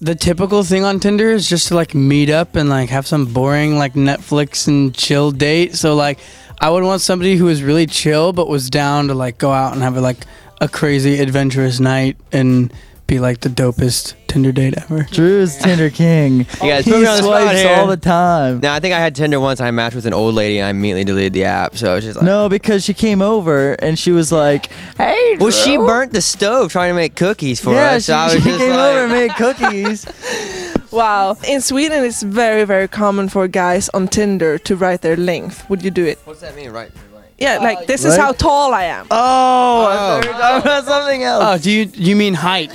the typical thing on Tinder is just to like meet up and like have some boring like Netflix and chill date. So like I would want somebody who was really chill but was down to like go out and have like a crazy adventurous night and be like the dopest Tinder date ever. Drew's Tinder king. You guys he put me on the spot swipes here. all the time. No, I think I had Tinder once. I matched with an old lady and I immediately deleted the app. So I was just like, No, because she came over and she was like, "Hey." Well, she Drew." burnt the stove trying to make cookies for Yeah, us. she, so I was she just came like, over and made cookies. Wow. In Sweden, it's very, very common for guys on Tinder to write their length. Would you do it? What's that mean, right? right. Yeah, like this is Oh, Right? how tall I am. oh, Oh. I thought we were talking about something else. Oh, do you you mean height?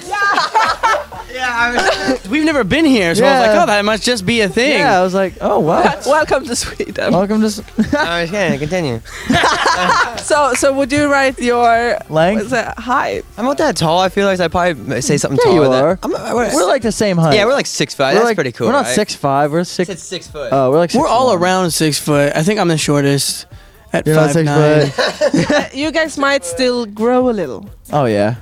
We've never been here, so I was Yeah. like, oh, that must just be a thing. yeah, I was like, "Oh wow." Welcome to Sweden. Welcome to s- I was kidding. Continue. So, so would you write your Length. what's that, height? I'm not that tall. I feel like I probably say something Yeah, you taller. than- are. I'm, I- we're, We're like the same height. yeah, we're like six five. We're That's like- pretty cool. We're not right? six five. We're I said six. six foot. Oh, we're like. We're six all one. around six foot. I think I'm the shortest at You're not five six nine. foot. You guys might still grow a little. Oh yeah.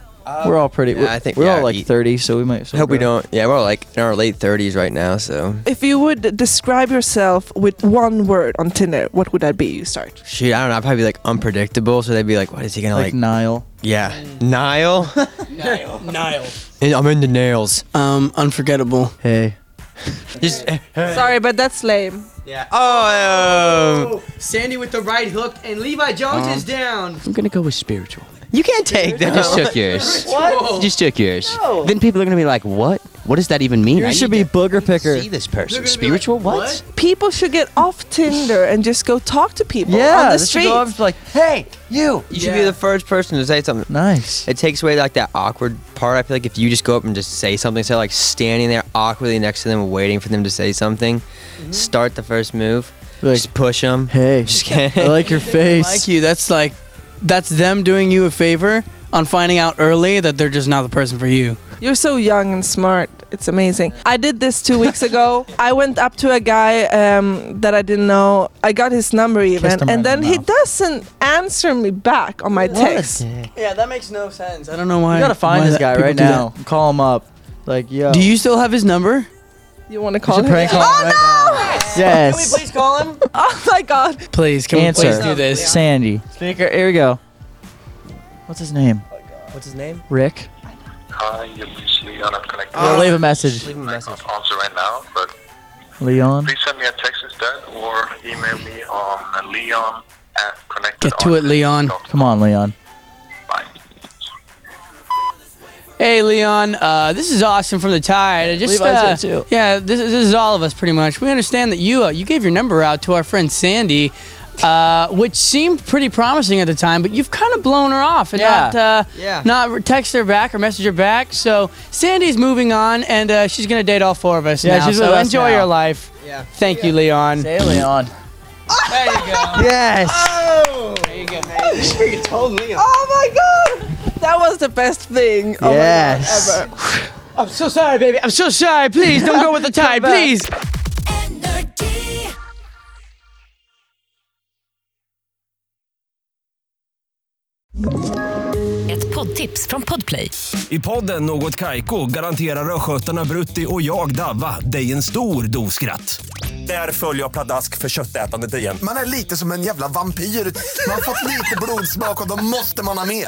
we're all pretty. Uh, yeah, we're- I think we're we all are. like Ye- thirty, so we might. I hope we don't. Yeah, we're like in our late 30s right now. So If you would describe yourself with one word on Tinder, what would that be? You start. shoot, I don't know. I'd probably be like unpredictable. So they'd be like, "What is he gonna like, like?" Nile. yeah, Nile. Nile. And I'm into nails. Um, unforgettable. Hey. Just Sorry, but that's lame. yeah. Oh, um, Sandy with the right hook and Levi Jones is down. I'm gonna go with spiritual. you can't take I that. just took yours. What? Just took yours. No. Then people are gonna be like, "What? What does that even mean?" You I should be need to- booger picker. See this They're person? gonna be Spiritual? like, what? People should get off Tinder and just go talk to people on Yeah. the this should street. go up to like, hey, you. You should be Yeah. the first person to say something. Nice. It takes away like that awkward part. I feel like if you just go up and just say something, so like standing there awkwardly next to them, waiting for them to say something, start the first move, Like, just push them. hey. Just kidding. I like your face. Like you, that's like, that's them doing you a favor on finding out early that they're just not the person for you. You're so young and smart. It's amazing. I did this two weeks ago. I went up to a guy um, that I didn't know. I got his number even, him right in and then the he mouth. doesn't answer me back on my text. Yeah, that makes no sense. I don't know why. You gotta find why this that- guy people right do that. now. Call him up. Like, yo. Do you still have his number? You want to We call should him? prank call him Oh, right now. Yes. call him? Oh my god! Please, can Answer. we please do this? Sandy. Speaker. Here we go. What's his name? What's his name? Rick. Hi, you reached Leon. I'm connected. We'll leave a message. Leave him a I message. can't answer right now, but Leon. please send me a text instead or email me on Leon at connected. Get to it, Leon. Come on, Leon. Hey, Leon. Uh, this is Austin from the Tide. I just Levi's uh, here, too. yeah, this, is- this is all of us pretty much. We understand that you uh, you gave your number out to our friend Sandy, uh, which seemed pretty promising at the time, but you've kind of blown her off and Yeah. not uh, Yeah. not re- text her back or message her back. So Sandy's moving on, and uh, she's gonna date all four of us Yeah, now. she's so with us enjoy now. your life. Yeah. Thank you, Leon. Hey, Leon. There you go. Yes. Oh my god! That was the best thing. Oh my God, Yes. ever. I'm so sorry, baby. I'm so sorry. Please don't go with the tide, back. please. Energy. Ett poddtips från Podplay. I podden Något Kaiko garanterar östgötarna Brutti och jag, Davva, dig en stor dos skratt. Där följer jag pladask för köttätandet igen. Man är lite som en jävla vampyr. Man har fått lite blodsmak och då måste man ha mer.